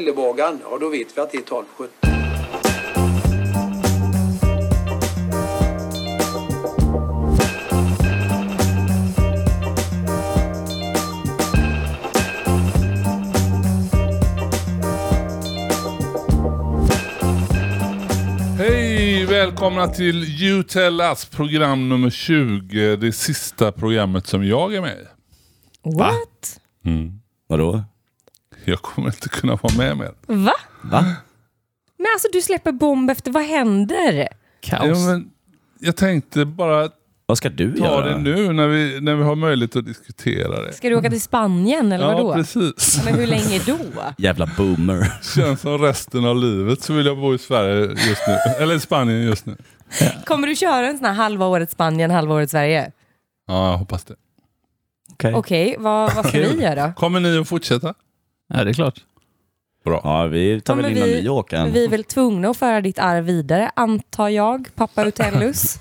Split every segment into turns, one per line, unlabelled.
Lillebågan, ja då vet vi att det är 1217.
Hej! Välkomna till Utellas program nummer 20. Det sista programmet som jag är med i.
What?
Vadå?
Jag kommer inte kunna vara med mer.
Va?
Va?
Men alltså du släpper bomb efter, vad händer?
Ja,
Kaos.
men jag tänkte bara
Vad ska du
ta
göra?
det nu när vi, när vi har möjlighet att diskutera det.
Ska du åka till Spanien eller
Ja,
vadå?
precis.
Men hur länge då?
Jävla boomer.
Känns som resten av livet så vill jag bo i Sverige just nu. Eller i Spanien just nu.
Kommer du köra en sån här halva året Spanien, halva året Sverige?
Ja, jag hoppas det.
Okej.
Okej, vad, vad ska vi göra?
Kommer ni att fortsätta?
Ja, det är klart.
Ja, vi tar
Ja,
väl
men
in en
vi-
ny åkan.
Vi är väl tvungna att föra ditt arv vidare, antar jag, pappa Utellus?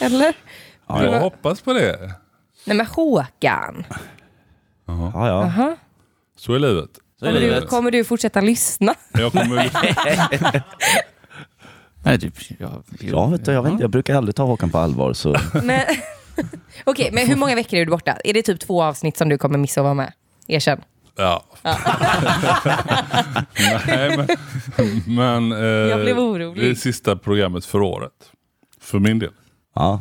Eller?
Ja,
Jag
ja.
hoppas på det.
Nej men Håkan,
ja, ja.
Aha.
Så är livet.
Så är
Kommer, du,
livet.
kommer du fortsätta lyssna?
Jag kommer...
Nej, typ, jag,
Ja, vet du, jag, vet inte, jag brukar aldrig ta Håkan på allvar. Så.
Men, Okej, men hur många veckor är du borta? Är det typ två avsnitt som du kommer missa att vara med? Erkänn.
Ja. Nej, men... men eh,
Jag blev orolig.
Det är sista programmet för året. För min del.
Ja.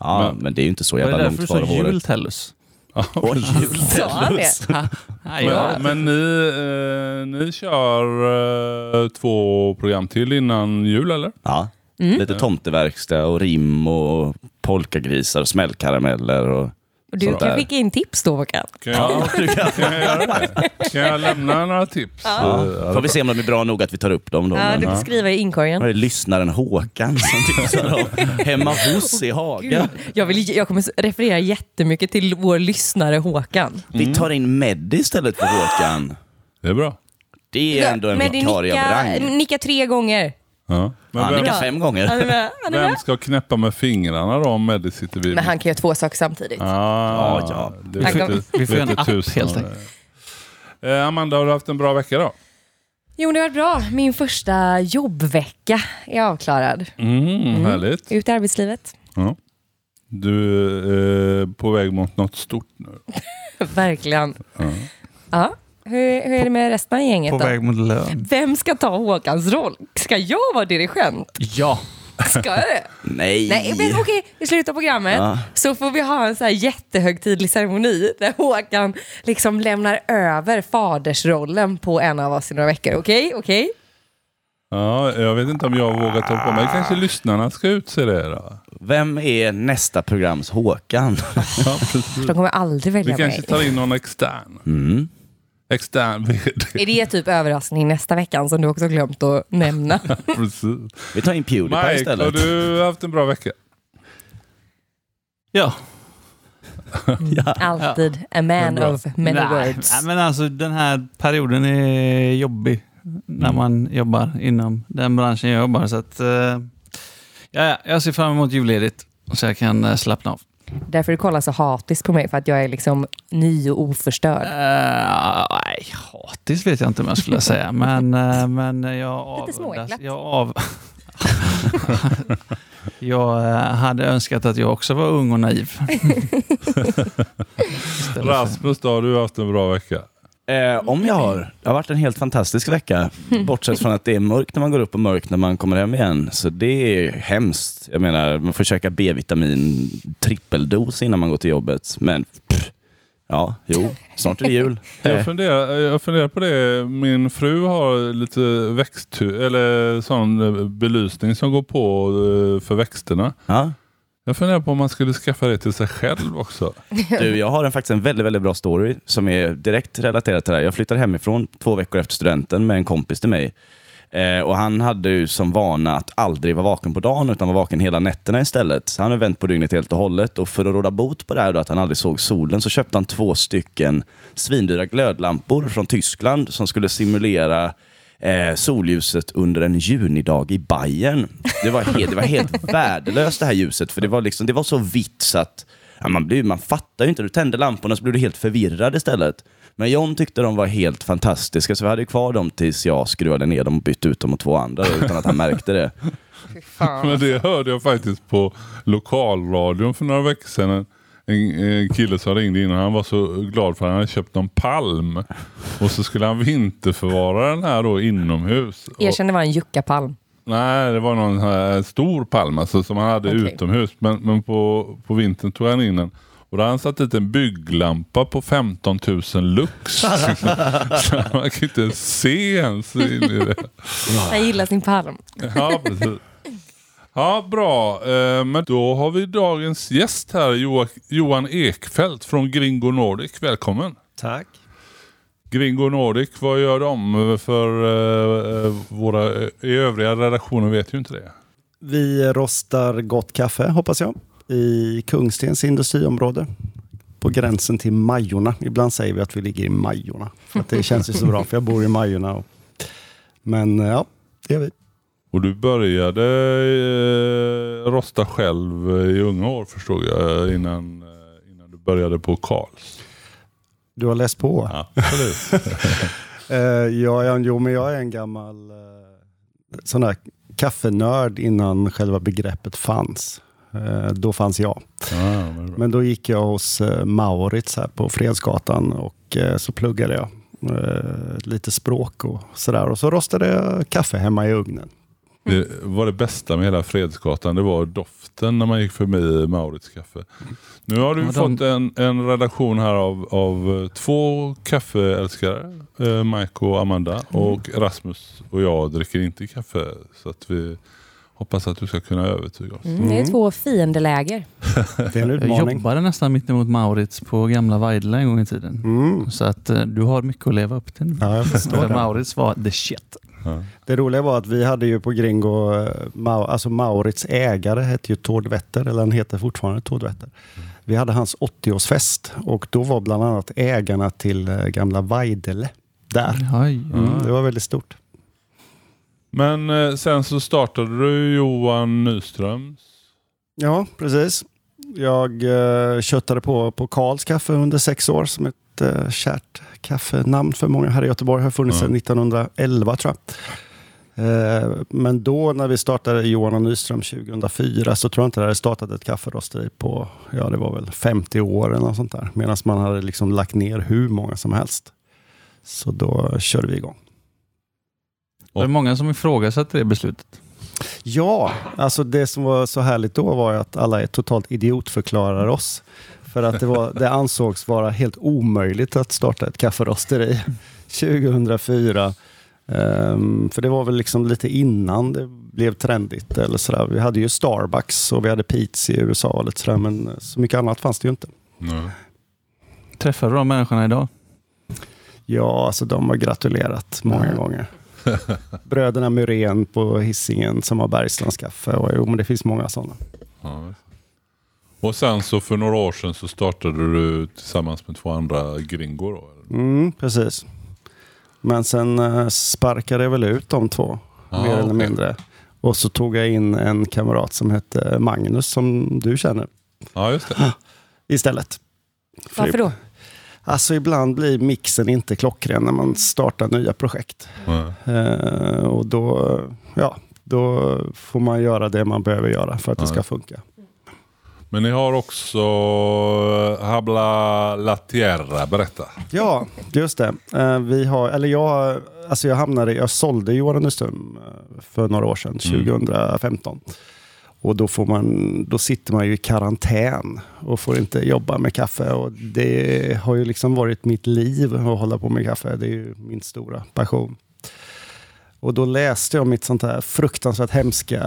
Ja,
Men-
men, det är ju inte så
Det var
jävla
därför du
långt kvar
sa
av året.
jultellus.
Och jul.
Sa han det?
Nej, ja.
Men, men ni, eh, ni kör eh, två program till innan jul eller?
Ja. Lite tomteverkstad och rim och polkagrisar och smällkarameller. Och...
Och du
Sådär.
kan skicka in tips då Håkan.
Kan jag, kan jag göra det? Kan jag lämna några tips? Eh,
Får vi se om de är bra nog att vi tar upp dem då.
Ja,
men-
du får skriva i
Var
inkorgen.
det lyssnaren Håkan som tipsar om Hemma hos i Haga.
Mm. Jag, vill, jag kommer referera jättemycket till vår lyssnare Håkan.
Vi tar in Meddi istället för Håkan.
Det är bra.
Det är ändå en
Men det
vikarie av
nicka,
rang.
nicka tre gånger.
Ja. Men
Ja,
vem,
Nicka
Han
fem
är med.
gånger.
Han är
vem
med.
ska knäppa med fingrarna då om Eddie sitter vid?
Men han kan göra två saker samtidigt.
Ah,
Ja, ja.
det
Han
vet
kan-
inte-
Vi får göra
vet
en
inte
app,
tusan.
helt enkelt.
Eh, Amanda, har du haft en bra vecka då?
Jo, det var bra. Min första jobbvecka är avklarad.
Mm, Härligt.
Ut i arbetslivet.
Ja. Du är eh, på väg mot något stort nu.
Verkligen. Ja. Hur, hur är det med resten av gänget
På
då?
väg mot lön.
Vem ska ta Håkans roll? Ska jag vara dirigent?
Ja.
Ska jag det? Nej, men
Nej.
okej, i slutet av programmet
Ja.
så får vi ha en så här jättehögtidlig ceremoni där Håkan liksom lämnar över fadersrollen på en av oss i några veckor. Okej? Okej?
Ja, jag vet inte om jag vågar ta på mig. Kanske lyssnarna ska utse det då?
Vem är nästa programs Håkan?
Ja, precis.
De kommer aldrig
Vi
välja
kanske
mig.
tar in någon extern.
Mm.
Extern vd.
Är det typ överraskning nästa veckan som du också har glömt att nämna?
Precis.
Vi tar in Pewdiepie
Mike, har
istället.
du haft en bra vecka?
Ja.
Alltid a man
bra.
of many
Nej,
words.
Nej, men alltså den här perioden är jobbig när man jobbar inom den branschen jag jobbar. Så att, eh, ja, ja, jag ser fram emot julledigt så jag kan eh, slappna av.
Därför du kollar så hatiskt på mig för att jag är liksom ny och oförstörd.
Eh, nej, hatiskt vet jag inte om jag skulle säga, men, eh, men jag
Lite
avundas.
småäcklat.
Jag, av... jag eh, hade önskat att jag också var ung och naiv. Istället för-
Rasmus, då, har du haft en bra vecka?
Eh, om jag har. Det har varit en helt fantastisk vecka.
Mm.
Bortsett från att det är mörkt när man går upp och mörkt när man kommer hem igen. Så det är hemskt. Jag menar, man får käka B-vitamin trippeldos innan man går till jobbet. Men pff, ja, jo, snart är det jul.
Jag funderar, jag funderar på det. Min fru har lite växt, eller sån eh, belysning som går på eh, för växterna.
Ja.
Jag funderar på om man skulle skaffa det till sig själv också.
Du, jag har en, faktiskt en väldigt, väldigt bra story som är direkt relaterad till det här. Jag flyttade hemifrån två veckor efter studenten med en kompis till mig. Eh, och Han hade ju som vana att aldrig vara vaken på dagen, utan var vaken hela nätterna istället. Så han har vänt på dygnet helt och hållet. Och För att råda bot på det här, då, att han aldrig såg solen, så köpte han två stycken svindyra glödlampor från Tyskland som skulle simulera eh, solljuset under en junidag i Bayern. Det var helt, det var helt värdelöst det här ljuset, för det var, liksom, det var så vitt så att ja, man, blir, man fattar ju inte. Du tände lamporna så blev du helt förvirrad istället. Men John tyckte de var helt fantastiska, så vi hade ju kvar dem tills jag skruvade ner dem och bytte ut dem mot två andra utan att han märkte det.
Fy fan.
Men det hörde jag faktiskt på lokalradion för några veckor sedan. En, en en kille som ringde innan, han var så glad för att han hade köpt någon palm. Och så skulle han vinterförvara den här då inomhus. Och,
Erkänn det var en juckapalm.
nej, det var någon här stor palm alltså, som han hade
Okej.
utomhus. Men, men på, på vintern tog han in den. Och då hade han satt dit en bygglampa på 15 000 lux. så man kan inte se ens in i det.
Han gillar sin palm.
Ja, precis. Ja, bra. Eh, Men då har vi dagens gäst här, Joak- Johan Ekfeldt från Gringo Nordic. Välkommen!
Tack.
Gringo Nordic, vad gör de? För eh, våra eh, i övriga redaktioner vet ju inte det.
Vi rostar gott kaffe, hoppas jag, i Kungstens industriområde. På gränsen till Majorna. Ibland säger vi att vi ligger i Majorna. För att det känns ju så bra, för jag bor i Majorna. Och... Men eh, ja, det gör vi.
Och du började eh, rosta själv eh, i unga år förstod jag eh, innan, eh, innan du började på Karls.
Du har läst på?
Ja, absolut.
Eh, ja, ja, jo, men jag är en gammal eh, sån här kaffenörd innan själva begreppet fanns. Eh, då fanns jag.
ja, men bra.
Men då gick jag hos eh, Mauritz här på Fredsgatan och eh, så pluggade jag eh, lite språk och sådär. Och så rostade jag kaffe hemma i ugnen.
Det var det bästa med hela Fredsgatan. Det var doften när man gick förbi Maurits kaffe. Nu har du
Ja, de-
fått en, en redaktion här av, av eh, två kaffeälskare. Eh, Mike och Amanda. Och Rasmus och jag dricker inte kaffe. Så att vi hoppas att du ska kunna övertyga oss.
Mm, det är två fiendeläger.
Det är en
Jag
utmaning.
jobbade nästan mittemot Maurits på gamla Vaidla en gång i tiden.
Mm.
Så att eh, du har mycket att leva upp till.
Ja, jag förstår
För
det.
Maurits var the shit.
det roliga var att vi hade ju på Gringo, eh, Mau- alltså Maurits ägare hette ju Tord Wetter, eller han heter fortfarande Tord Wetter. Vi hade hans 80-årsfest och då var bland annat ägarna till eh, gamla Weidele där.
Oj.
Mm, det var väldigt stort.
Men eh, sen så startade du Johan Nyströms.
Ja, precis. Jag eh, köttade på på Karls kaffe under sex år som ett eh, kärt kaffenamn för många här i Göteborg. Har funnits sedan 1911 tror jag. Eh, men då när vi startade Johan och Nyström 2004 så tror jag inte det hade startat ett kafferosteri på, ja det var väl 50 år eller något sånt där. Medan man hade liksom lagt ner hur många som helst. Så då körde vi igång.
Det är många som ifrågasätter det beslutet.
Ja, alltså det som var så härligt då var ju att alla totalt idiotförklarar oss. För att det, var, det ansågs vara helt omöjligt att starta ett kafferosteri 2004. Ehm, för det var väl liksom lite innan det blev trendigt eller sådär. Vi hade ju Starbucks och vi hade Peets i USA och lite sådär, men så mycket annat fanns det ju inte.
Träffar du de människorna idag?
Ja, alltså de har gratulerat många gånger. Bröderna Muren på Hisingen som har Bergslands kaffe och jo, men det finns många sådana.
Ja, visst. och sen så för några år sedan så startade du tillsammans med två andra gringor. Då, eller?
Mm, precis. Men sen eh, sparkade jag väl ut de två,
Ah,
mer eller
okej.
mindre. Och så tog jag in en kamrat som hette Magnus, som du känner,
Ja, just det.
istället. För
Varför då?
Alltså ibland blir mixen inte klockren när man startar nya projekt.
Ja.
Eh, och då, ja, då får man göra det man behöver göra för att det ska funka.
Men ni har också eh, Habla La Tierra, berätta.
Ja, just det. Eh, vi har, eller jag, alltså jag, hamnade, jag sålde Johan och Nyström eh, för några år sedan, 2015. Och då, får man, då sitter man ju i karantän och får inte jobba med kaffe. Och det har ju liksom varit mitt liv att hålla på med kaffe. Det är ju min stora passion. Och då läste jag mitt sånt här fruktansvärt hemska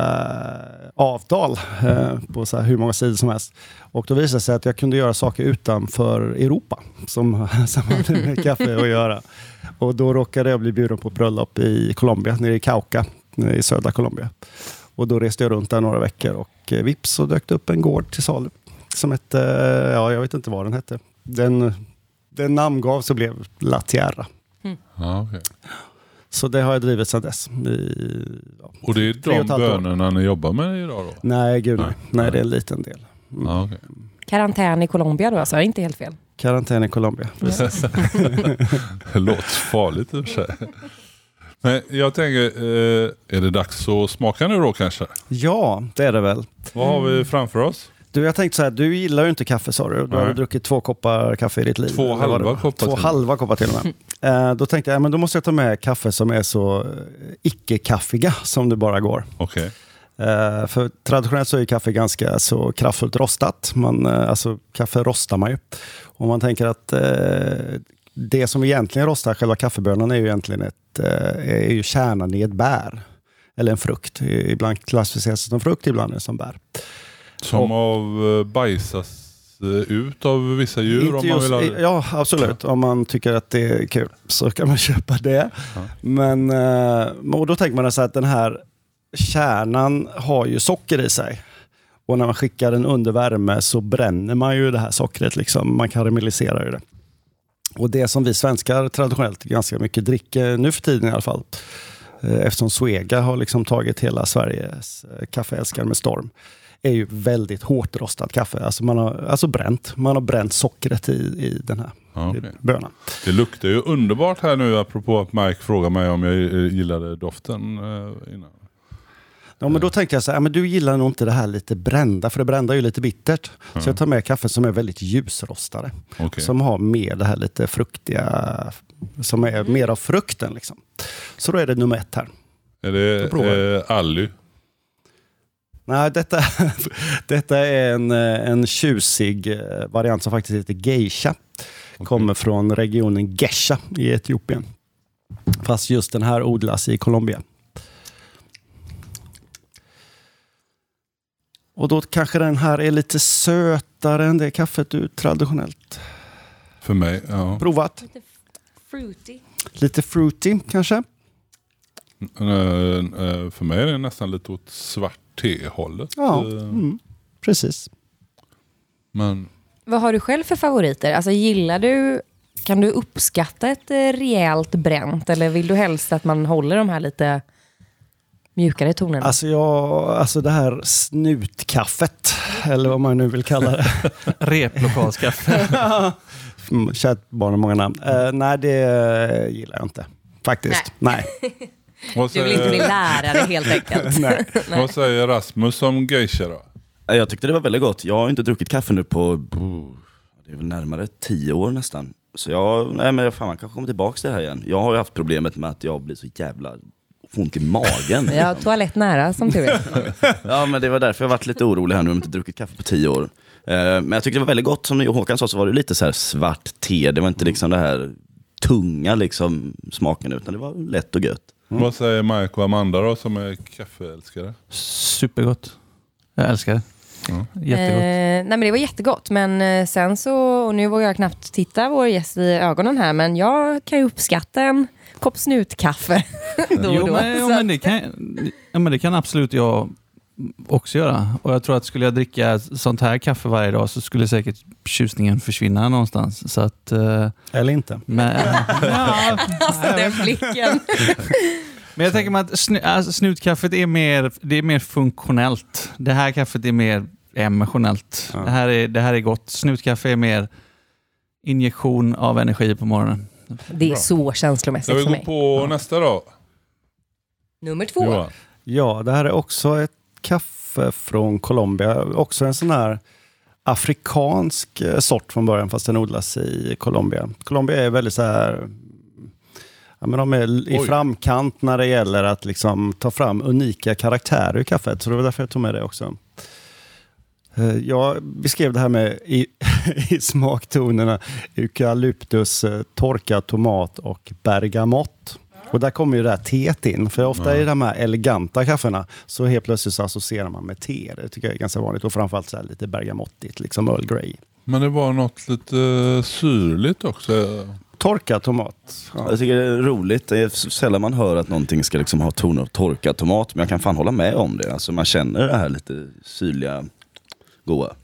avtal eh, på så här hur många sidor som helst. Och då visade det sig att jag kunde göra saker utanför Europa som, som hade med kaffe att göra. Och då råkade jag bli bjuden på bröllop i Colombia, nere i Cauca eh, i södra Colombia. Och då reste jag runt där några veckor och eh, vips så dök det upp en gård till salu. Som hette, eh, ja jag vet inte vad den hette. Den, den namngavs och blev La Tierra.
Ja, okej.
Så det har jag drivit sedan dess. I, ja.
Och det är
Tre och
de
ett halvt år.
bönerna ni jobbar med idag då?
Nej, gud nej.
Nej.
nej. det är en liten del.
Ja, okej.
Karantän i Colombia då alltså, inte helt fel.
Karantän i Colombia.
Det låter farligt i och för sig. Men jag tänker, eh, är det dags att smaka nu då kanske?
Ja, det är det väl.
Vad har vi framför oss?
Du, jag tänkte så här, du gillar ju inte kaffe sa du. Du har
Nej.
väl druckit två koppar kaffe i ditt liv.
Två
eller vad
halva
det var?
koppar
Två
till.
halva koppar till och med. Eh, Då tänkte jag, ja, men då måste jag ta med kaffe som är så eh, icke-kaffiga som det bara går.
Okej.
Eh, För traditionellt så är ju kaffe ganska så kraftfullt rostat. Man, eh, alltså, kaffe rostar man ju. Och man tänker att eh, det som egentligen rostar själva kaffebönan är ju egentligen ett, eh, är ju kärnan i ett bär. Eller en frukt. Ibland klassificeras det som frukt, ibland är det som bär.
Som av eh, bajsas eh, ut av vissa djur om man vill ha det.
eh, Ja, absolut. Om man tycker att det är kul så kan man köpa det.
Ja.
Men eh, och då tänker man så här att den här kärnan har ju socker i sig. Och när man skickar den under värme så bränner man ju det här sockret. Liksom. Man karamelliserar ju det. Och det som vi svenskar traditionellt ganska mycket dricker, nu för tiden i alla fall, eh, eftersom Svega har liksom tagit hela Sveriges eh, kaffeälskare med storm, är ju väldigt hårt rostat kaffe. Alltså, man har, alltså bränt. Man har bränt sockret i, i den här
Ja, okej.
bönan.
Det luktar ju underbart här nu apropå att Mike frågade mig om jag eh, gillade doften eh, innan.
Ja,
Mm.
men då tänkte jag så här, ja, men du gillar nog inte det här lite brända, för det brända är ju lite bittert. Så jag tar med kaffe som är väldigt ljusrostade.
Mm. Okej.
Som har mer det här lite fruktiga, som är
Mm.
mer av frukten. Liksom. Så då är det nummer ett här.
Är
Då provar
det
jag.
eh, Ally?
Nej, detta, detta är en, eh, en tjusig eh, variant som faktiskt heter geisha. Kommer från regionen Gesha i Etiopien. Fast just den här odlas i Colombia. Och då kanske den här är lite sötare än det kaffet du traditionellt
För mig? Ja.
provat.
Fruity.
Lite fruity kanske.
Eh, eh, För mig är det nästan lite åt svart te-hållet.
Ja,
Eh,
mm, precis.
Men
Vad har du själv för favoriter? Alltså gillar du, kan du uppskatta ett eh, rejält bränt eller vill du helst att man håller de här lite mjukare tonerna?
Alltså, jag, alltså det här snutkaffet, eller vad man nu vill kalla det.
Replokalskaffe.
Mm, Kärt barn har många namn. Eh, nej, det eh, gillar jag inte. Faktiskt. Nej.
vad
du vill inte bli
säger,
lärare helt enkelt.
vad säger Rasmus om geisha då?
Ja, Jag tyckte det var väldigt gott. Jag har inte druckit kaffe nu på bo, det är väl närmare tio år nästan. Så jag, nej men fan, man kanske kommer tillbaka till det här igen. Jag har ju haft problemet med att jag blir så jävla får ont i magen.
Jag har
liksom.
toalett nära som tur är.
Ja, men det var därför jag varit lite orolig här nu, om jag inte druckit kaffe på tio år. Eh, Men jag tyckte det var väldigt gott, som Håkan sa, så var det lite så här svart te. Det var inte liksom det här tunga liksom, smaken, utan det var lätt och gött.
Mm.
Vad säger Mike och Amanda då som är kaffeälskare?
Supergott. Jag älskar det.
Ja.
Jättegott.
Eh, nej men det var jättegott, men eh, sen så, och nu vågar jag knappt titta vår gäst i ögonen här, men jag kan ju uppskatta en kopp snutkaffe då och
Jo,
då.
men, jo,
Så-
men, det kan, ja, men det kan absolut jag också göra. Och jag tror att skulle jag dricka sånt här kaffe varje dag så skulle säkert tjusningen försvinna någonstans. Så att, eh,
Eller inte.
men, ja,
alltså den blicken.
men jag tänker mig att snu, alltså, snutkaffet är mer, det är mer funktionellt. Det här kaffet är mer emotionellt.
Ja.
Det, här är, det här är gott. Snutkaffe är mer injektion av energi på morgonen.
Det är
Bra.
så
Jag
känslomässigt
vill gå
för mig.
på nästa då.
Nummer två.
Johan.
Ja, det här är också ett kaffe från Colombia. Också en sån här afrikansk eh, sort från början, fast den odlas i Colombia. Colombia är väldigt så här... Ja, men de är l- i
Oj.
framkant när det gäller att liksom ta fram unika karaktärer ur kaffet, så det var därför jag tog med det också. Eh, Jag beskrev det här med i, i smaktonerna eukalyptus, eh, torkad tomat och bergamott. Och där kommer ju det här teet in, för ofta i de här eleganta kaffena så helt plötsligt så associerar man med te. Det tycker jag är ganska vanligt och framförallt så här lite bergamottigt, liksom Earl Grey.
Men det var något lite syrligt också.
Torkad tomat. Ja.
Jag tycker det är roligt. Det är sällan man hör att någonting ska liksom ha ton av torkad tomat, men jag kan fan hålla med om det. Alltså man känner det här lite syrliga, goa.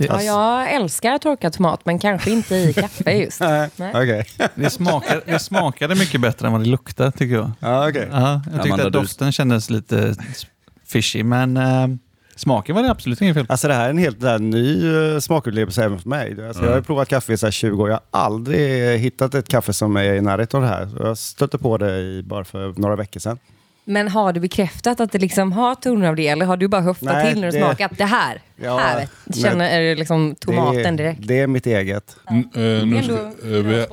Ja, jag älskar torkad tomat, men kanske inte i kaffe just.
Nej,
Nej.
Okej.
Det, smakar, det smakade mycket bättre än vad det luktade tycker jag.
Ja, okej.
Ja, jag tyckte
Amanda,
att
du-
doften kändes lite fishy, men eh, Smaken var det absolut inget fel på.
Alltså det här är en helt det här, ny eh, smakupplevelse även för mig. Alltså, Jag har ju provat kaffe i så här 20 år. Jag har aldrig hittat ett kaffe som är i närheten av det här. Så Jag stötte på det i, bara för några veckor sedan.
Men har du bekräftat att det liksom har toner av det eller har du bara höftat
Nej,
till när du
det-
smakat? Det här,
Ja,
här vet du. känner är det liksom tomaten
det, är-
direkt.
Det är mitt eget.
N- eh, nu ska, eh, vi,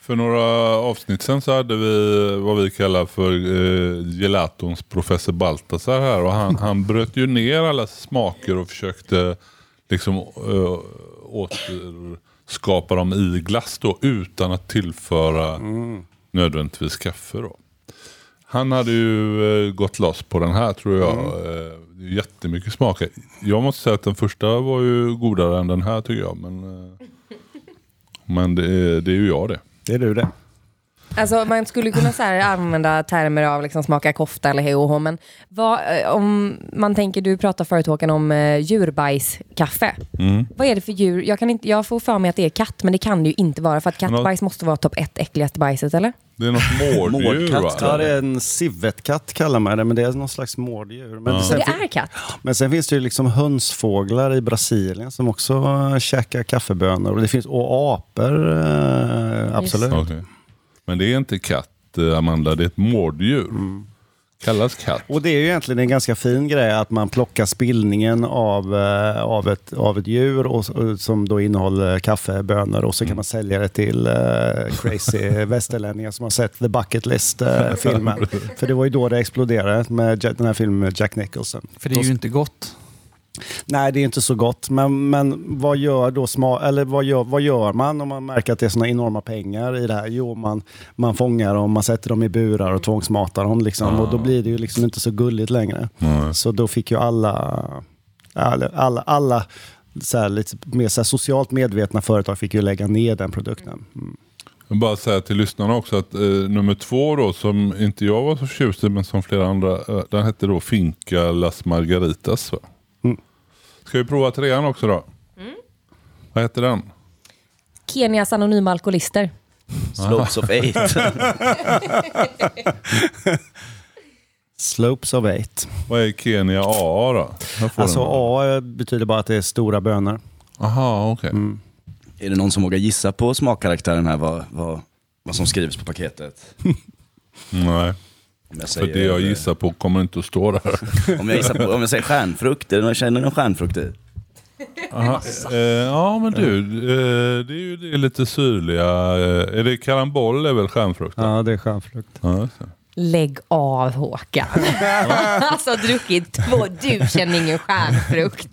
för några avsnitt sen så hade vi vad vi kallar för eh, gelatons professor Baltasar här. Och han, han bröt ju ner alla smaker och försökte liksom eh, återskapa dem i glass då, utan att tillföra nödvändigtvis kaffe. Då. Han hade ju eh, gått loss på den här tror jag. Eh, det är jättemycket smaker. Jag måste säga att den första var ju godare än den här tycker jag. Men, eh, men det, är, det är ju jag det.
Det är du det.
Alltså man skulle kunna så här använda termer av liksom smaka kofta eller hej och hå, men vad, eh, om man tänker, du pratar förut Håkan om eh, djurbajskaffe. Vad är det för djur? Jag, kan inte, jag får för mig att det är katt, men det kan det ju inte vara för att kattbajs måste vara topp ett äckligaste bajset eller?
Det är något mårddjur
Mårdkatt,
Ja,
va?
det är en civetkatt kallar man det, men det är någon slags mårddjur. Men,
Och
sen,
det är katt.
men sen finns det ju liksom hönsfåglar i Brasilien som också äh, käkar kaffebönor. Och det finns och apor, eh, absolut.
Okej. Men det är inte katt eh, Amanda, det är ett mårddjur. Kallas katt.
Och det är ju egentligen en ganska fin grej att man plockar spillningen av, eh, av, ett, av ett djur och, och, som då innehåller kaffebönor och så kan man sälja det till eh, crazy västerlänningar som har sett The Bucket List-filmen. För det var ju då det exploderade med Ja- den här filmen med Jack Nicholson.
För det är ju inte gott.
Nej, det är inte så gott. Men, men vad gör då sma, eller vad gör, vad gör man om man märker att det är såna enorma pengar i det här? Jo, man, man fångar dem, man sätter dem i burar och tvångsmatar dem. Liksom, och då blir det ju liksom inte så gulligt längre. Så då fick ju alla, alla, alla, alla så här, lite mer så här, socialt medvetna företag fick ju lägga ner den produkten. Mm.
Jag vill bara säga till lyssnarna också att eh, nummer två då som inte jag var så förtjust i men som flera andra. Eh, den hette då Finca Las Margaritas. Va?
Mm.
Ska vi prova trean också då? Vad heter den?
Kenias anonyma alkoholister.
Slopes of eight.
Slopes of eight.
Vad är Kenya AA då? Här får
Alltså
den.
A betyder bara att det är stora bönor.
Aha, okej.
är det någon som vågar gissa på smakkaraktären här, vad, vad, vad som skrivs på paketet?
Nej,
Om jag
för
säger,
det jag gissar på kommer inte att stå där.
Om jag, gissar på, om jag säger stjärnfrukt, är det någon, känner ni någon stjärnfrukt i?
Aha, eh, ja men du, eh, det är ju det lite syrliga. Eh, är det karambol är väl stjärnfrukt? Ja.
Ja, det är stjärnfrukt.
just det.
Lägg av Håkan. alltså druckit två, du känner ingen stjärnfrukt.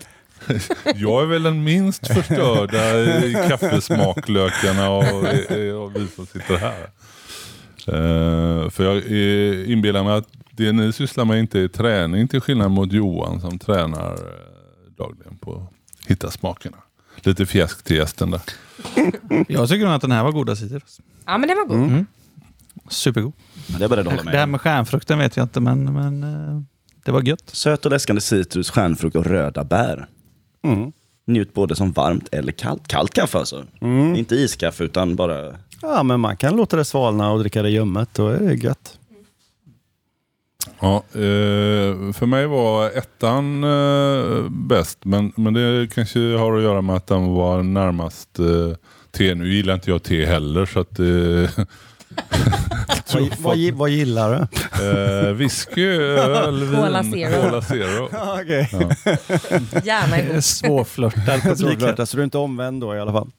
jag är väl den minst förstörda i kaffesmaklökarna och, eh, och vi som sitter här. Eh, för jag eh, inbillar mig att det ni sysslar med inte är träning till skillnad mot Johan som tränar eh, dagligen på att hitta smakerna. Lite fjäsk till gästen där.
Jag tycker nog att den här var goda sidor.
Ja men den var god.
Mm.
Supergod.
Det är jag beredd att hålla
Det här
med.
med stjärnfrukten vet jag inte, men, men eh, det var gött.
Söt och läskande citrus, stjärnfrukt och röda bär.
Mm.
Njut både som varmt eller kallt. Kallt kaffe alltså. Inte iskaffe utan bara...
Ja, men man kan låta det svalna och dricka det ljummet. Då är det gött.
Ja, eh, för mig var ettan eh, bäst, men, men det kanske har att göra med att den var närmast eh, te. Nu gillar inte jag te heller, så att... Eh,
Vad, vad, gi- vad gillar du?
eh, whisky, öl, vin,
Cola Zero.
Cola Zero.
Okej.
Gärna ihop.
Svårflörtad på
Okay. Så du är inte omvänd då i alla fall?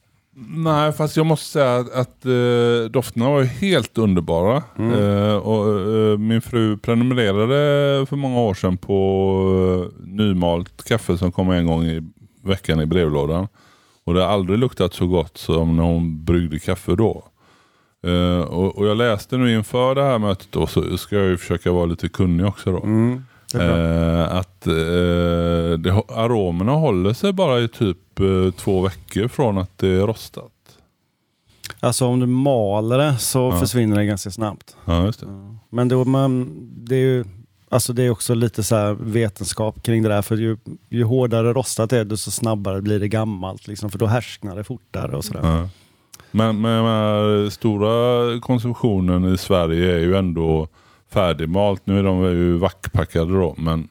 Nej, fast jag måste säga att, att eh, dofterna var ju helt underbara. Eh, och, eh, min fru prenumererade för många år sedan på eh, nymalt kaffe som kom en gång i veckan i brevlådan. Och det har aldrig luktat så gott som när hon bryggde kaffe då. Eh, och, och jag läste nu inför det här mötet då, så ska jag ju försöka vara lite kunnig också då. Eh, att eh, det, hå- aromerna håller sig bara i typ eh, två veckor från att det är rostat.
Alltså om du maler det så
Ja.
försvinner det ganska snabbt.
Ja, just det.
Men då man, det är ju alltså det är också lite så här vetenskap kring det där. För ju, ju hårdare rostat det är, desto snabbare blir det gammalt. Liksom, för då härsknar det fortare och sådär.
Ja. Men, men, men stora konsumtionen i Sverige är ju ändå färdigmalt. Nu är de ju vackpackade då, men,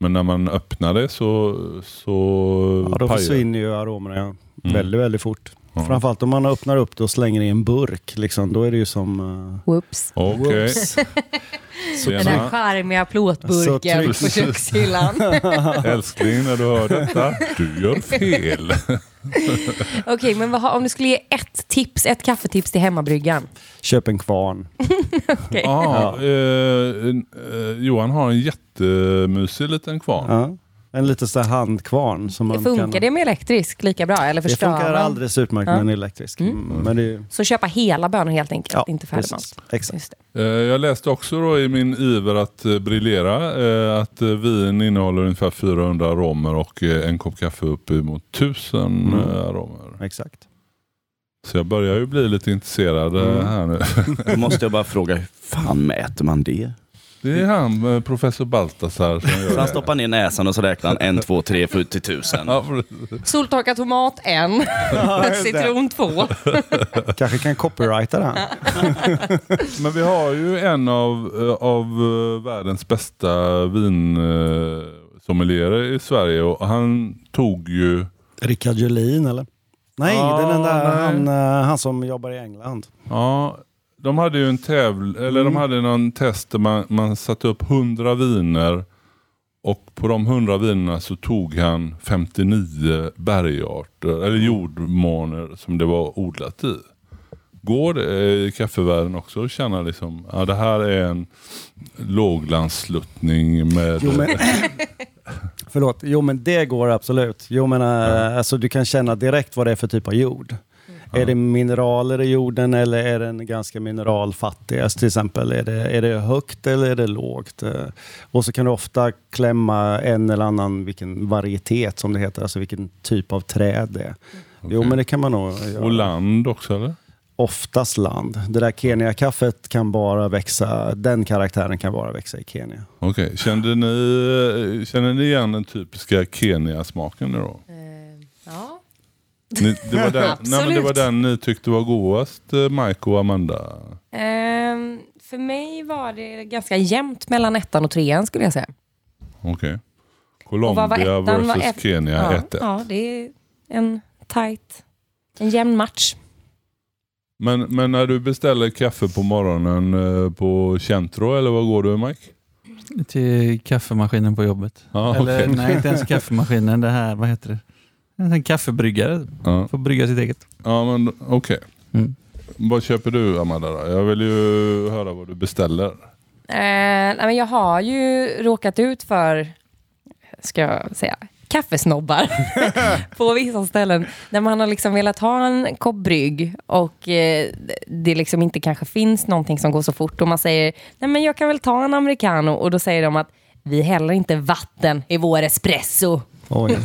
Men när man öppnar det så, så
Ja, då
pajar-
försvinner ju aromerna ja.
Mm.
väldigt, väldigt fort.
Ja.
Framförallt om man öppnar upp det och slänger i en burk. Liksom, då är det ju som... eh,
Whoops.
Okej.
whoops.
Den
Tjena.
här charmiga plåtburken
Alltså,
tryck-
på kökshyllan.
Älskling, när du hör detta, du gör fel.
Okej, men vad, har- om du skulle ge ett tips, ett kaffetips till hemmabryggan?
Köp en kvarn.
Ah, eh, eh, Johan har en jättemysig liten kvarn.
Ja. En liten sån här handkvarn. Som man
Funkar
kan,
det med elektrisk lika bra? Eller
Det
förstör
funkar
man?
alldeles utmärkt med
Ja.
en elektrisk. Mm. Men det är ju,
Så köpa hela bönor helt enkelt,
ja,
inte
precis.
färdigmalt.
Exakt.
Just det.
Eh, Jag läste också då i min iver att eh, briljera eh, att eh, vin innehåller ungefär 400 aromer och eh, en kopp kaffe uppemot 1000
Mm.
eh, aromer.
Exakt.
Så jag börjar ju bli lite intresserad eh,
Mm.
här nu.
Då måste jag bara fråga, hur fan mäter man det?
Det är han, eh, professor Baltasar, som
Så han
gör det.
stoppar ner näsan och så räknar han en, två, tre, för ut till tusen.
Ja, precis.
Soltorkad tomat en, citron två.
Kanske kan copyrighta det här.
Men vi har ju en av, eh, av eh, världens bästa vinsommelierer i Sverige och han tog ju
Rickard Julin eller? Nej,
Ah,
den där,
nej.
Han, eh, han som jobbar i England.
Ja, de hade ju en tävling, eller de
Mm.
hade någon test där man, man satte upp 100 viner och på de 100 vinerna så tog han 59 bergarter,
Mm.
eller jordmåner som det var odlat i. Går det eh, i kaffevärlden också att känna liksom, ja det här är en låglandssluttning med...
Jo, men, förlåt, jo men det går absolut. Jo, men, eh, alltså, du kan känna direkt vad det är för typ av jord. Är det mineraler i jorden eller är den ganska mineralfattig? Alltså, till exempel, är det, är det högt eller är det lågt? Eh, Och så kan du ofta klämma en eller annan, vilken varietet som det heter, alltså vilken typ av träd det är. Jo,
Okej.
men det kan man nog göra.
Och land också eller?
oftast land. Det där Kenya-kaffet kan bara växa, den karaktären kan bara växa i Kenya.
Okej, kände ni, känner ni igen den typiska Kenya-smaken nu då?
Ja.
Ni, det, var den,
Absolut.
nej, men det var den ni tyckte var godast, eh, Mike och Amanda.
Ehm, för mig var det ganska jämnt mellan ettan och trean skulle jag säga.
Okej.
vad var
Colombia
ettan? Vad
versus
ett-
Kenya 1-1.
ja, det är en tight, en jämn match.
Men, men när du beställer kaffe på morgonen eh, på Centro, eller vad går du Mike?
Till kaffemaskinen på jobbet.
Ja,
Eller
okej.
nej, inte ens kaffemaskinen. Det här, vad heter det? En sån kaffebryggare.
Ja.
Får brygga sitt eget.
Ja, men okej.
Mm.
Vad köper du Amanda då? Jag vill ju höra vad du beställer.
Eh, nej, men jag har ju råkat ut för, ska jag säga, kaffesnobbar på vissa ställen. Där man har liksom velat ha en kopp brygg och eh, det liksom inte kanske finns någonting som går så fort. Och man säger, nej men jag kan väl ta en americano. Och då säger de att vi häller inte vatten i vår espresso.
Oj.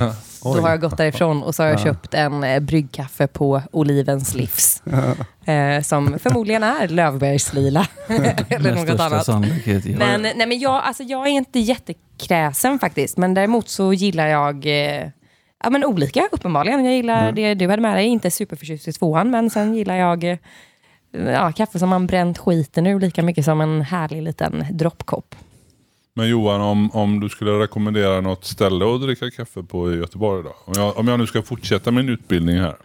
Då har jag gått därifrån och så har jag köpt en eh, bryggkaffe på Olivens Livs. Eh, som förmodligen är Löfbergslila. eller
Med
något
största
annat.
sannolikhet, ja.
Men, nej, men jag, alltså, jag är inte jättekräsen faktiskt, men däremot så gillar jag eh, ja, men olika uppenbarligen. Jag gillar det du hade med dig, inte superförtjust i tvåan, men sen gillar jag eh, ja, kaffe som man bränt skiten ur lika mycket som en härlig liten droppkopp.
Men Johan, om, om du skulle rekommendera något ställe att dricka kaffe på i Göteborg då? Om jag, om jag nu ska fortsätta min utbildning här.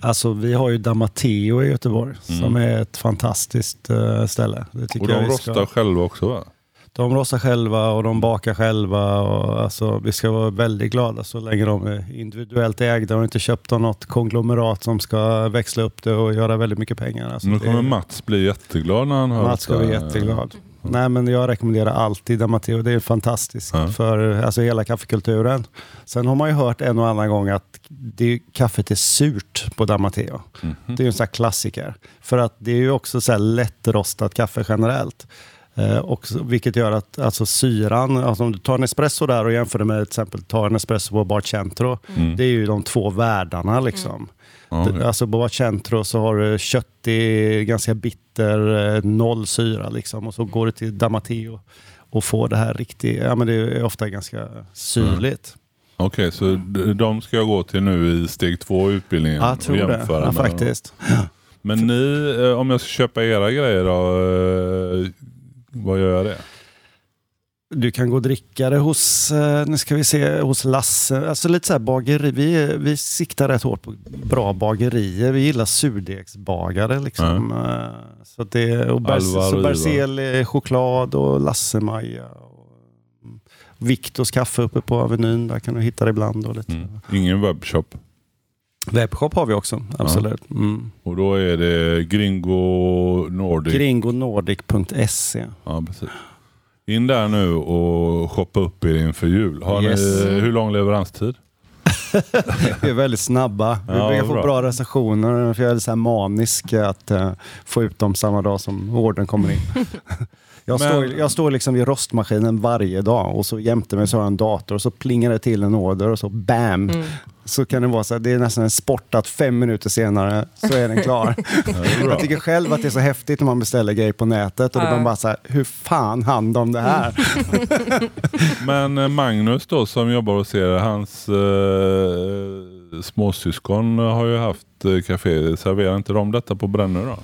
Alltså, vi har ju Damateo i Göteborg som är ett fantastiskt eh, ställe. Det
Mm.
tycker
Och de
jag vi ska-
rostar själva också va?
de rostar själva och de bakar själva. Och, alltså, vi ska vara väldigt glada så länge de är individuellt ägda och inte köpt av något konglomerat som ska växla upp det och göra väldigt mycket pengar. Alltså,
Nu
det-
kommer Mats bli jätteglad när han hör
Mats ska
detta.
bli jätteglad. Nej, men jag rekommenderar alltid Damateo. Det är fantastiskt
Ja.
för alltså, hela kaffekulturen. Sen har man ju hört en och annan gång att det, kaffet är surt på Damateo. Det är ju en sån här klassiker. För att det är ju också så här lättrostat kaffe generellt. Eh, och, så- vilket gör att alltså, syran, alltså, om du tar en espresso där och jämför det med till exempel ta en espresso på Barcentro. Det är ju de två världarna liksom.
Ja,
D-
okej.
Alltså på Centro så har du köttig, ganska bitter, eh, noll syra liksom. Och så går du till Damateo och får det här riktigt, ja men det är ofta ganska syrligt.
Okej, så d- de ska jag gå till nu i steg två i utbildningen
Ja, jag tror
och
det.
jämföra
Ja,
med dem.
faktiskt.
Men ni, eh, om jag ska köpa era grejer då, eh, vad gör jag det?
du kan gå och dricka det hos, eh, nu ska vi se, hos Lasse. Alltså lite så här bageri. Vi, vi siktar rätt hårt på bra bagerier. Vi gillar surdegsbagare liksom. Eh, Så att det,
Alvaro
och Bers, så
Ivar.
Berzel choklad och Lasse-Maja. och Viktors kaffe uppe på Avenyn. Där kan du hitta det ibland. Och lite.
Mm. Ingen webbshop.
Webbshop har vi också, absolut. Mm.
Och då är det Gringo Nordic.
Gringonordic.se.
ja, precis. In där nu och shoppa upp er inför jul. Har
Yes.
ni, hur lång leveranstid?
Vi är väldigt snabba. Vi
Ja,
brukar få
bra.
bra recensioner. För jag är så här manisk att eh, få ut dem samma dag som ordern kommer in. jag,
Men-
står, jag står liksom vid rostmaskinen varje dag och så jämte mig så har jag en dator och så plingar det till en order och så bam! Så kan det vara så här, det är nästan en sport att fem minuter senare så är den klar. jag tycker själv att det är så häftigt när man beställer grejer på nätet och då
Ja.
blir man bara så här, hur fan hann de det här?
Men eh, Magnus då som jobbar hos er, hans eh, småsyskon har ju haft eh, café. Serverar inte de detta på Brännö då?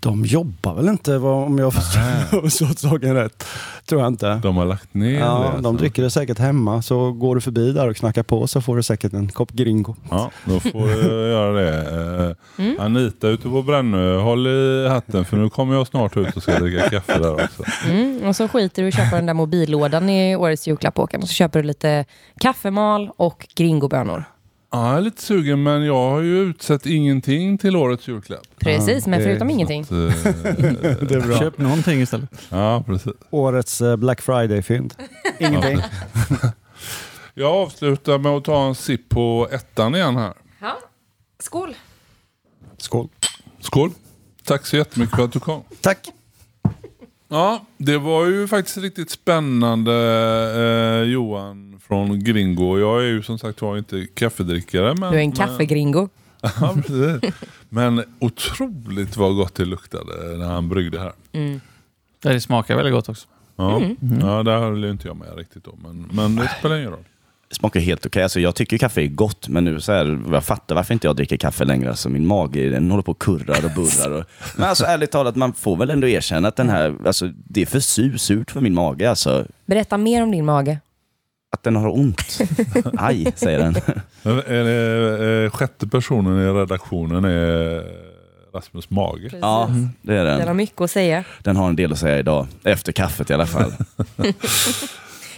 De jobbar väl inte vad- om jag har förstått saken rätt? Tror jag inte.
De har lagt ner det.
Ja,
alltså.
de dricker det säkert hemma. Så går du förbi där och knackar på så får du säkert en kopp gringo.
Ja, då får du göra det. Eh, Anita ute på Brännö, håll i hatten för nu kommer jag snart ut och ska dricka kaffe där också.
Mm, och så skiter du i att köpa den där mobillådan i årets julklapp Håkan. Och så köper du lite kaffemal och gringobönor.
Ja, jag är lite sugen men jag har ju utsett ingenting till årets julklapp.
Precis, men
det-
förutom ingenting.
Så, eh,
Det är
Köp någonting istället.
ja, precis.
Årets eh, Black Friday-fynd. Ingenting.
Jag avslutar med att ta en sipp på ettan igen här.
Ja. Skål!
Skål.
Skål! Tack så jättemycket för att du kom.
Tack.
Ja, det var ju faktiskt riktigt spännande eh, Johan från Gringo. Jag är ju som sagt var inte kaffedrickare. Men,
Du är en kaffegringo.
Ja, precis. Men otroligt vad gott det luktade när han bryggde här.
Det smakar väldigt gott också.
Ja,
Mm.
ja där höll ju inte jag med riktigt då. Men, men det spelar ingen roll.
Det smakar helt okej. Alltså, jag tycker kaffe är gott, men nu så här, jag fattar varför inte jag dricker kaffe längre. Alltså, min mage den håller på och kurrar och bullrar. Och... Men alltså, ärligt talat, man får väl ändå erkänna att den här, alltså, det är för su- surt för min mage. Alltså,
Berätta mer om din mage.
att den har ont. Aj, säger den.
Men Är det, eh, sjätte personen i redaktionen är Rasmus Mage.
Ja, det är
Den har
den.
mycket att säga.
Den har en del att säga idag. Efter kaffet i alla fall.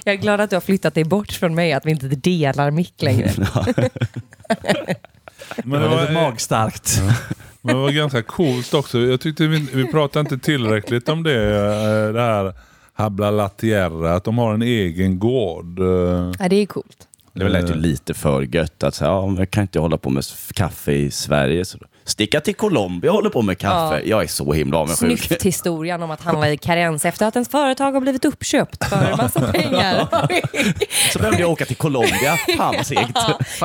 Jag är glad att du har flyttat dig bort från mig, att vi inte delar mick längre.
Men
det var lite
eh,
magstarkt.
Men det var ganska coolt också. Jag tyckte vi, vi pratade inte tillräckligt om det. eh, Det här Habla La Tierra, att de har en egen gård. eh.
Ja, det är coolt.
Det lät ju lite för gött att säga, ja, men jag kan inte hålla på med f- kaffe i Sverige. Så då, sticka till Colombia och hålla på med kaffe. Jag är så himla avundsjuk.
Snyfthistorien om att han var i karens efter att ens företag har blivit uppköpt för massa pengar.
Så behövde jag åka till Colombia. Fan vad segt.
Fan,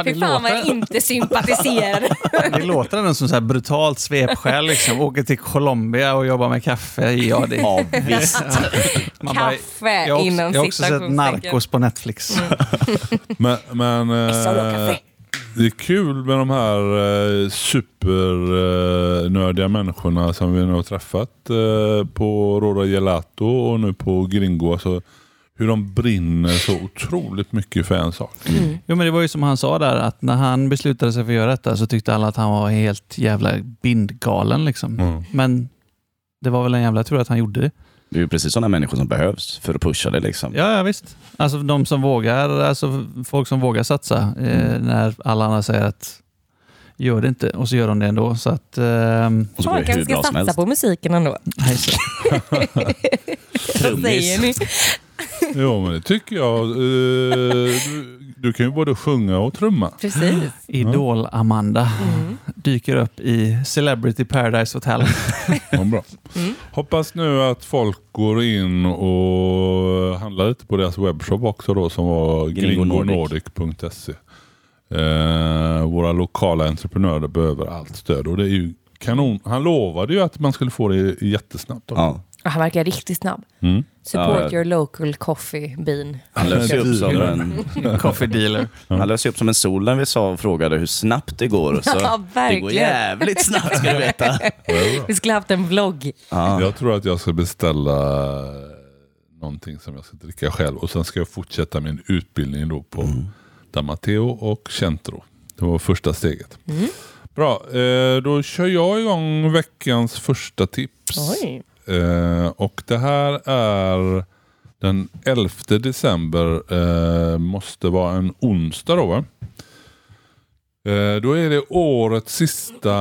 det
Fy fan vad jag
låter-
inte sympatiserar.
Det låter ändå som så här brutalt svepskäl. Liksom. Åker till Colombia och jobbar med kaffe. Ja, det
Ja, visst.
Man
Kaffe
jag har också,
inom
Jag har också sett
citationstecken. Mm.
Narcos på Netflix.
Men, men eh,
Missar du kaffe?
det är kul med de här eh, supernördiga människorna som vi nu har träffat eh, på Roda Gelato och nu på Gringo. Alltså, hur de brinner så otroligt mycket för en sak.
Mm.
Jo, men det var ju som han sa där, att när han beslutade sig för att göra detta så tyckte alla att han var helt jävla bindgalen. Liksom.
Mm.
Men det var väl en jävla tur att han gjorde det.
Det är ju precis sådana människor som behövs för att pusha det. Liksom.
Ja, ja visst. Alltså de som vågar, alltså folk som vågar satsa
Mm.
eh, när alla andra säger att gör det inte och så gör de det ändå. Så att, ehm,
Och så går det
Håkan
hur
ska
bra som
satsa
helst.
på musiken ändå.
nej, så-
Vad säger ni?
Jo men det tycker jag. Eh, du, du kan ju både sjunga och trumma.
Precis.
Mm. Idol-Amanda
Mm.
dyker upp i Celebrity Paradise Hotel.
Ja, bra. Hoppas nu att folk går in och handlar lite på deras webbshop också då som var
Gringonordic.
gringonordic.se. Eh, våra lokala entreprenörer behöver allt stöd och det är ju kanon. Han lovade ju att man skulle få det jättesnabbt. också.
Ja.
Ja, Han verkar riktigt snabb.
Mm.
Support
Ja, ja.
your local coffee bean.
Han löser ju upp som en,
Coffee dealer.
han löser ju upp som en sol när vi sa och frågade hur snabbt det går. Så
Ja,
det går
verkligen.
jävligt snabbt ska du veta.
Vi skulle haft en vlogg.
Jag tror att jag ska beställa någonting som jag ska dricka själv. Och sen ska jag fortsätta min utbildning då på Damateo och Centro. Det var första steget. Bra, eh, då kör jag igång veckans första tips.
Oj.
Eh, och det här är den 11 december. Eh, måste vara en onsdag då va? Eh, då är det årets sista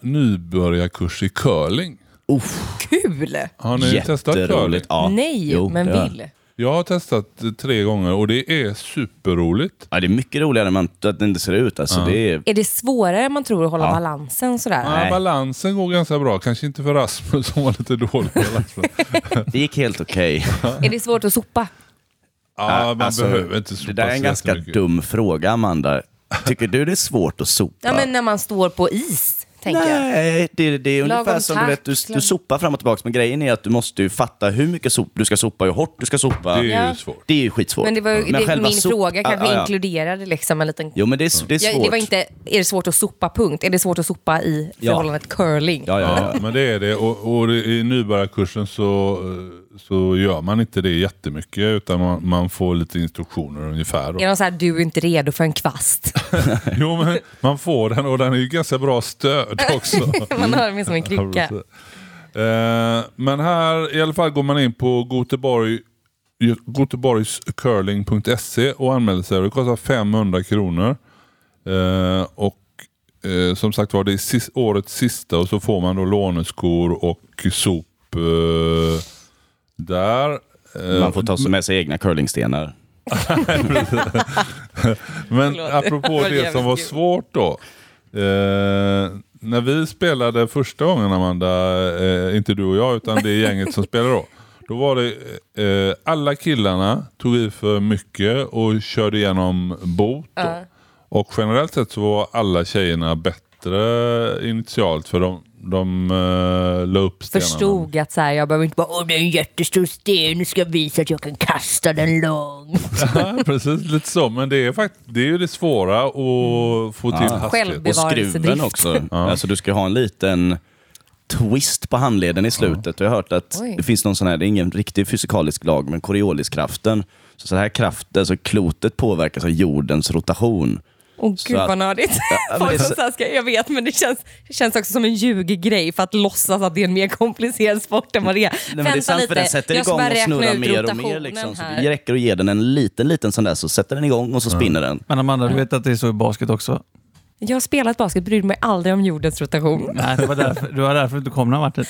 nybörjarkurs i curling.
Kul!
Har ni testat curling?
Jätteroligt. Ja.
Nej,
Jo,
men
det har jag.
vill.
Jag har testat eh, tre gånger och det är superroligt.
Ja, det är mycket roligare än man, att det inte ser ut. Alltså, det är,
Är det svårare än man tror att hålla
Ja.
balansen sådär?
Ja, balansen går ganska bra. Kanske inte för Rasmus som var lite dålig. på balansen.
det gick helt okej.
Är det svårt att sopa?
ja, man
Alltså,
behöver inte
Det där är en ganska dum fråga, Amanda. Tycker du det är svårt att sopa?
Ja, men när man står på is, tänker jag.
Nej, det, det är
Lagom
ungefär som du, vet, du,
takt,
du sopar fram och tillbaka, men grejen är att du måste ju fatta hur mycket sop du ska sopa, hur hårt du ska sopa.
Det är ju
Ja.
svårt.
Det är ju skitsvårt.
Men det var ju, det,
själva
min
sop-
fråga kanske
ja, ja, ja.
inkluderade liksom en liten...
Jo, men det är, s- det är svårt.
Ja, det var inte, är det svårt att sopa punkt? Är det svårt att sopa i
Ja.
förhållandet curling?
Ja, ja, ja.
Ja, men det är det. Och, och i nybörjarkursen så, eh, så gör man inte det jättemycket utan man, man får lite instruktioner ungefär. då.
Är de så här, du är inte redo för en kvast?
Jo, men man får den och den är ju ganska bra stöd också.
man
Mm.
hör mig som en
Ja,
krycka.
precis. Eh, men här i alla fall går man in på Göteborg, goteborgscurling.se E och anmäler sig. Det kostar 500 kronor. Eh, och eh, som sagt var, det är sis- årets sista och så får man då låneskor och sop eh, där. Eh,
Man får ta med sig egna curlingstenar.
Men
Förlåt. Det
apropå
var
det
jävligt
som var
kul.
svårt då. Eh, när vi spelade första gången Amanda, eh, inte du och jag utan det gänget som spelade då. Då var det eh, alla killarna tog i för mycket och körde igenom bot. Då. Och generellt sett så var alla tjejerna bättre initialt för de, de eh, la upp stenarna.
Förstod att så här, jag behöver inte bara åh det är en jättestor sten, nu ska jag visa att jag kan kasta den långt.
Ja, precis, lite så. Men det är, fakt- det är ju det svåra att få till hastighet.
Och
Bevarelsedrift.
skruven också. Alltså, du ska ha en liten twist på handleden i slutet. Jag har hört att
Oj.
det finns någon sån här, det är ingen riktig fysikalisk lag, men Corioliskraften. Så, så här kraft, alltså klotet påverkas av jordens rotation.
Åh
Så
gud
att-
vad nördigt.
men
Folk
det-
som så här ska, jag vet men det känns, det känns också som en ljuggrej för att låtsas att det är en mer komplicerad sport än vad det är.
Nej, men det är sant, för den sätter
jag ska
igång
bara
och
räkna
snurrar
ut
mer och mer.
rotationen
Liksom. Så
här.
det räcker att ge den en liten, liten sån där, så sätter den igång och så spinner den.
Men Amanda, du vet att det är så i basket också?
Jag har spelat basket, brydde mig aldrig om jordens
Mm.
rotation.
Nej, det var därför, det var typ- därför du inte kom någon vart.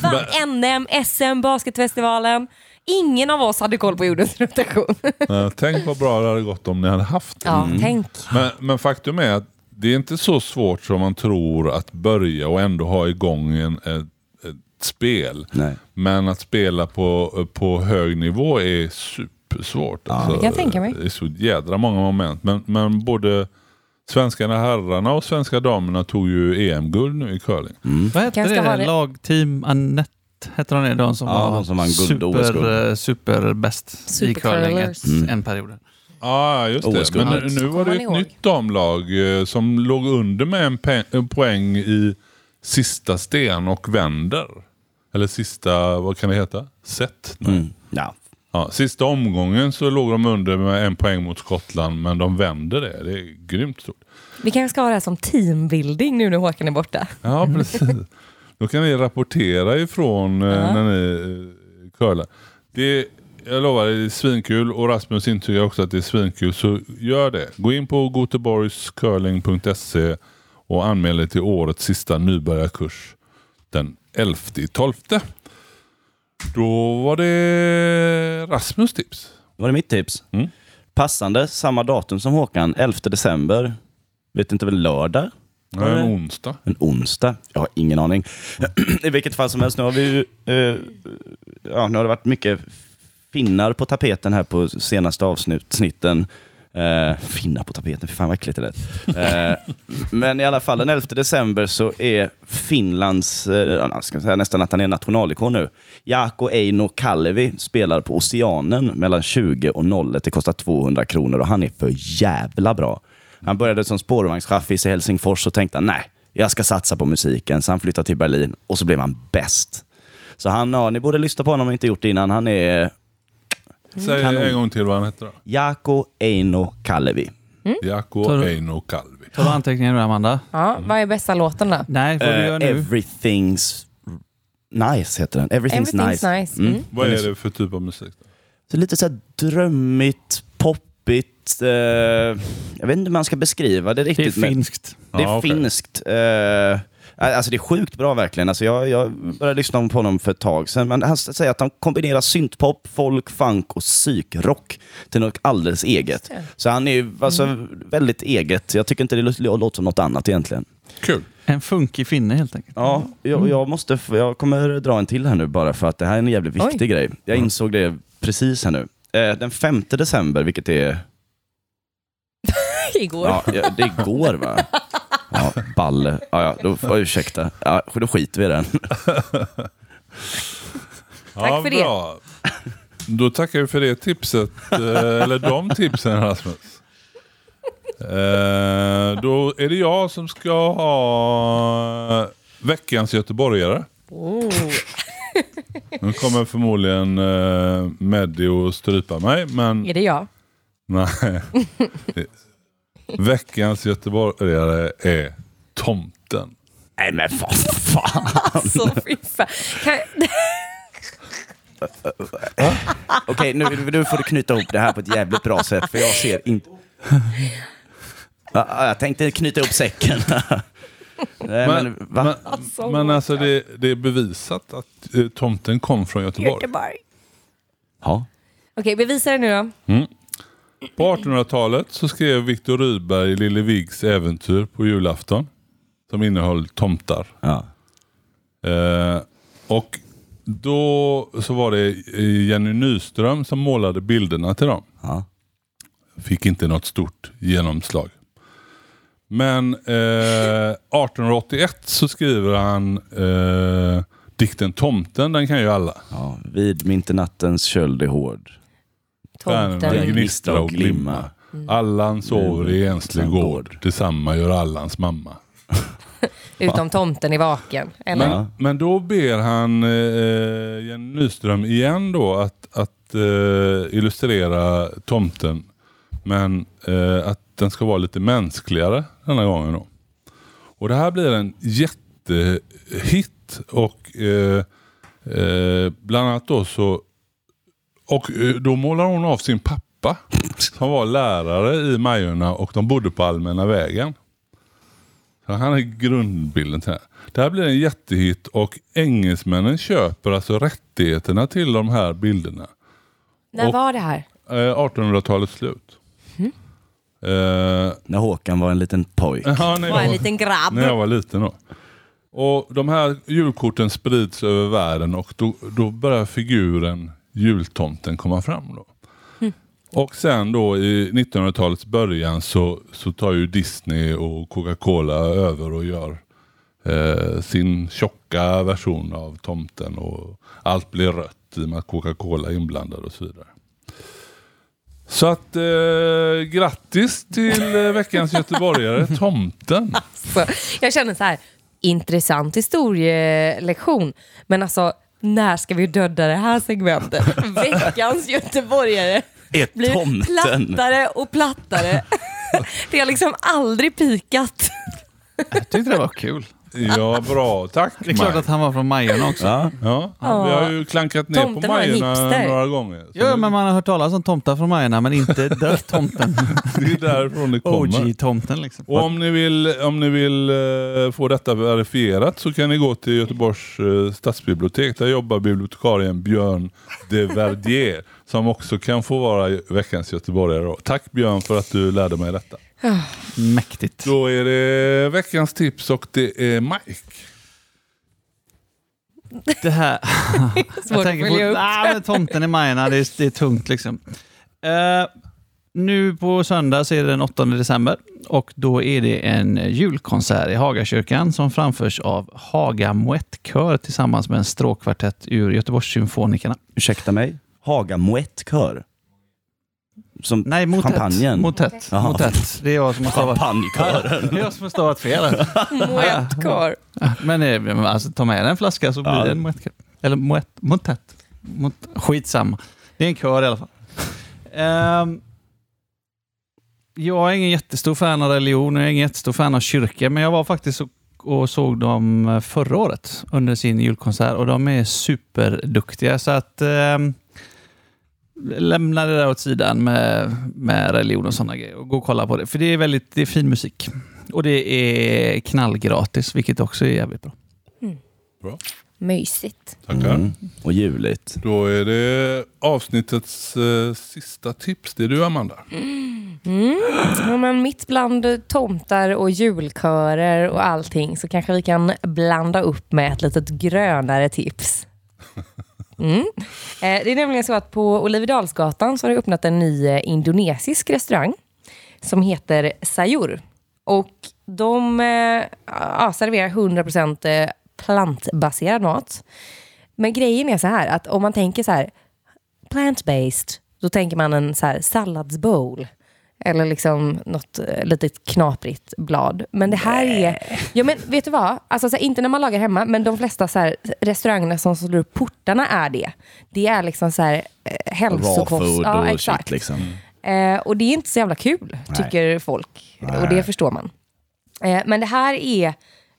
Fan, NM, SM, basketfestivalen. Ingen av oss hade koll på jordens rotation.
Eh, tänk vad bra det hade gått om ni hade haft det.
Mm.
Ja, tänk.
Men, men faktum är att det är inte så svårt som man tror att börja och ändå ha igång en, ett, ett spel.
Nej.
Men att spela på, på hög nivå är supersvårt. alltså.
det kan jag tänka mig.
Det är så jädra många moment. Men, men både svenskarna herrarna och svenska damerna tog ju EM-guld nu i curling.
Vad hette
Kanske
det?
var det-
Lagteam Annette hette de det? De som
Ja,
var
de som vann guld och OS-guld.
super, eh, superbäst i curling
Supercurlers.
ett, en period.
Ja, ah, just det.
OS-guld.
Men nu- nu var det
Kommer
ju
ni
ett
ihåg?
nytt damlag eh, som låg under med en pe- en poäng i sista sten och vänder. Eller sista, vad kan det heta? Set? Nej.
Mm. Ja.
Ja, sista omgången så låg de under med en poäng mot Skottland, men de vände det. Det är grymt stort.
Vi kanske ska ha det här som teambuilding nu när Håkan är borta.
Ja, precis. Då kan ni rapportera ifrån eh, när ni eh, curlar. Det, jag lovar, det är svinkul och Rasmus intygar också att det är svinkul. Så gör det. Gå in på goteborgscurling.se och anmäl er till årets sista nybörjarkurs den 11 12. Då var det Rasmus tips.
Var det mitt tips?
Mm.
Passande, samma datum som Håkan, 11 december. Vet inte väl lördag?
Nej, en onsdag.
En onsdag? Jag har ingen aning. I vilket fall som helst, nu har vi ju... eh, ja, nu har det varit mycket finnar på tapeten här på senaste avsnitten. Eh, finnar på tapeten, för fan vad äckligt det lät. Eh, men i alla fall, den 11 december så är Finlands, eh, ja, ska jag säga, nästan att han är nationalikon nu. Jaakko Eino Kallevi spelar på Oceanen mellan 20 och 01. Det kostar 200 kronor och han är för jävla bra. Han började som spårvagnschaffis i Helsingfors och tänkte nej, jag ska satsa på musiken. Så han flyttade till Berlin och så blev han bäst. Så han, ja, ni borde lyssna på honom om ni inte gjort det innan. Han är
Säg
Kanon.
en gång till vad han hette då.
Jaakko Eino Kalevi.
Jaakko
Tar du-
Eino Kalvi.
Tar du anteckningar nu Amanda?
Ja, vad är bästa låten då?
Nej, vad du
Eh,
gör nu.
Everything's nice heter den. Everything's,
Everything's
nice.
Nice, mm.
Vad är det för typ av musik? då?
Så lite så här drömmigt, poppigt. Eh, jag vet inte hur man ska beskriva det
Det är
riktigt. men-
finskt.
Det är
Ja, okej.
finskt. Eh, alltså det är sjukt bra verkligen. Alltså jag, jag började lyssna på honom för ett tag sedan. Men han säger att han kombinerar syntpop, folk, funk och psykrock till något alldeles eget.
det.
Så han är ju alltså, väldigt eget. Jag tycker inte det lå- låter som något annat egentligen.
Kul.
En funkig finne helt enkelt.
Ja, Mm. jag, jag, måste, f- jag kommer dra en till här nu bara för att det här är en jävligt viktig grej. Jag insåg det precis här nu. Eh, den 5 december, vilket är...
Igår.
Ja, ja, det är igår va? Ja, balle. Ja, ja, då, får jag ursäkta. Ja, då skiter vi i den.
ja,
för det.
bra. Då tackar vi för det tipset. eh, eller de tipsen Rasmus. Eh, då är det jag som ska ha veckans göteborgare.
Oh,
Nu kommer förmodligen eh, Meddi och strypa mig. Men
Är det jag?
Nej. Veckans göteborgare är tomten.
Nej men vad fan.
Alltså fy fan. Kan,
Okej, nu, nu får du knyta ihop det här på ett jävligt bra sätt för jag ser inte... Ja, ja, Jag tänkte knyta ihop säcken. Nej, men,
Men,
va?
men, men alltså det, det är bevisat att eh, tomten kom från Göteborg.
Göteborg.
Ja.
Okej, bevisa det nu då.
På 1800-talet så skrev Viktor Rydberg Lille Vigs äventyr på julafton. Som innehöll tomtar.
Ja.
Eh, och då så var det eh, Jenny Nyström som målade bilderna till dem.
Ja.
Fick inte något stort genomslag. Men eh, 1881 så skriver han eh, dikten Tomten, den kan ju alla.
ja. Vid minternattens köld är hård.
Stjärnorna
Tomten.
gnistra och glimma. Allan sover i enslig
Mm.
gård. Detsamma gör Allans mamma.
Utom tomten är vaken. Eller?
Men, men då ber han eh, Jenny Nyström igen då att, att eh, illustrera tomten. Men eh, att den ska vara lite mänskligare denna gången då. Och det här blir en jättehit. Och eh, eh, bland annat då så... Och eh, då målar hon av sin pappa. Som var lärare i Majorna och de bodde på Allmänna vägen. Så han är grundbilden till det här. Det här blir en jättehit och engelsmännen köper alltså rättigheterna till de här bilderna.
När
och-
var det här?
Eh, 1800-talets slut.
Mm.
Eh,
När Håkan var en liten pojk.
ja, när,
Var en
jag,
liten grabb.
när jag var liten då. Och de här julkorten sprids över världen och då, då börjar figuren jultomten komma fram. då. Och sen då i 1900-talets början så, så tar ju Disney och Coca-Cola över och gör eh, sin tjocka version av tomten och allt blir rött i och med att Coca-Cola är inblandad och så vidare. Så att eh, grattis till eh, veckans göteborgare, tomten.
Så, jag känner så här, intressant historielektion. Men alltså, när ska vi döda det här segmentet? Veckans göteborgare
Är
blir
tomten.
plattare och plattare. Det har liksom aldrig pikat.
Jag tyckte det var kul.
Ja, bra. Tack
Det är klart att han var från Majorna också.
Ja.
Ja, vi har ju klankat ner
Tomten
på
var en
Majorna
hipster.
några gånger. Så
Ja, men man har hört talas om tomtar från Majorna, men inte dött tomten.
Det är därifrån
Oh,
det kommer.
OG-tomten liksom.
Och om ni vill, om ni vill eh, få detta verifierat så kan ni gå till Göteborgs eh, stadsbibliotek. Där jobbar bibliotekarien Björn de Verdier som också kan få vara veckans göteborgare. då. Tack Björn för att du lärde mig detta.
Mäktigt.
Då är det veckans tips och det är Mike.
Det här...
Svårt att
tänker
följa upp.
Nej, men tomten i Majorna, det är, det är tungt liksom. Eh, nu på söndag så är det den 8 december och då är det en julkonsert i Hagakyrkan som framförs av Haga Moettkör tillsammans med en stråkkvartett ur Göteborgssymfonikerna.
Ursäkta mig? Haga Moettkör? Som
Nej, motett.
champagnen?
Motett.
Jaha.
motett. Det är jag som har stavat,
Champagnekören.
det är jag som har stavat fel. här.
Moett kvar.
Men eh, men alltså, ta med dig en flaska så blir
Ja.
det en moettkör. Eller moett, motett. Mot, skitsamma. Det är en kör i alla fall. Ehm, jag är ingen jättestor fan av religion och jag är ingen jättestor fan av kyrka, men jag var faktiskt och, och såg dem eh, förra året under sin julkonsert och de är superduktiga. Så att ehm, lämna det där åt sidan med, med religion och sådana grejer och gå och kolla på det. För det är väldigt det är fin musik. Och det är knallgratis, vilket också är jävligt bra.
Mysigt.
Tackar.
Mm. Och juligt.
Då är det avsnittets eh, sista tips. Det är du Amanda.
Mm. Ja, men mitt bland tomtar och julkörer och allting så kanske vi kan blanda upp med ett litet grönare tips. Mm. Eh, Det är nämligen så att på Olivedalsgatan så har det öppnat en ny eh, indonesisk restaurang som heter Sayur. Och de eh, ja, serverar 100% eh, plantbaserad mat. Men grejen är så här att om man tänker så här plant-based, då tänker man en så här salladsbowl. Eller liksom något eh, litet knaprigt blad. Men det här är... Ja, men vet du vad? Alltså, så här, inte när man lagar hemma, men de flesta så här, restaurangerna som slår upp portarna är det. Det är liksom så här, eh,
Raw
hälsokost.
food
Ja,
och
exakt.
shit liksom.
Eh, och det är inte så jävla kul, tycker folk. Och det förstår man. Eh, men det här är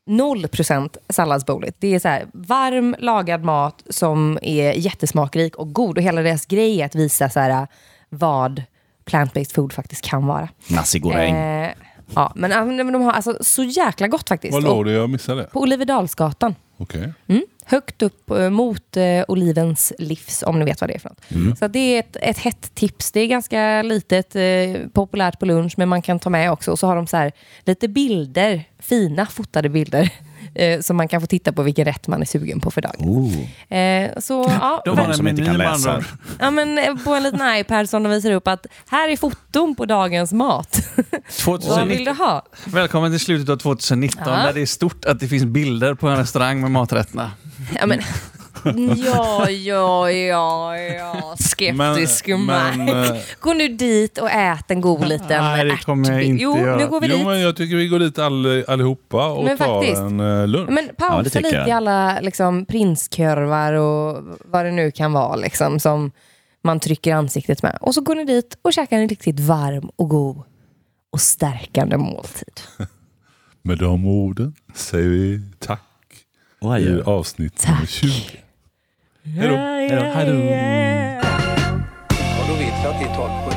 0% salladsbowlet. Det är så här, varm lagad mat som är jättesmakrik och god. Och hela deras grej är att visa så här, vad plant-based food faktiskt kan vara.
Nasi goreng.
Eh, ja, men, ja, men de har alltså så jäkla gott faktiskt.
Vad
Och
låg det? Jag missade det.
På Olivedalsgatan.
Okej.
Mm. Högt upp eh, mot eh, olivens livs, om ni vet vad det är för något. Så att det är ett, ett hett tips. Det är ganska litet, eh, populärt på lunch, men man kan ta med också. Och så har de så här, lite bilder, fina fotade bilder, eh, som man kan få titta på vilken rätt man är sugen på för dagen.
Oh.
Eh, så, ja,
De
För
har
de
en
som inte
meny
kan
med
läsa.
andra ord.
ja, men, eh, på en liten iPad som de visar upp att här är foton på dagens mat. vad vill
2019.
du ha?
Välkommen till slutet av 2019
Ja.
där det är stort att det finns bilder på en restaurang med maträtterna.
Ja, men, ja, ja, ja, ja. Skeptisk
Men-
Mike.
men, eh,
Gå nu dit och ät en god liten
Nej, det kommer jag
ärtbit.
inte
Jo,
göra.
nu går vi
Jo
dit.
men
Men,
jag tycker vi går dit all, allihopa och
Men
tar
faktiskt.
en eh, lunch.
Ja, det
pausa
tycker
lite
jag.
i alla liksom, prinskörvar och vad det nu kan vara liksom, som man trycker ansiktet med. Och så går ni dit och käkar en riktigt varm och god och stärkande måltid.
Med de orden säger vi tack
Och adjö.
i avsnitt nummer
Tack.
20. Hej då.
Ja, då vet vi att det är 12 sjutton.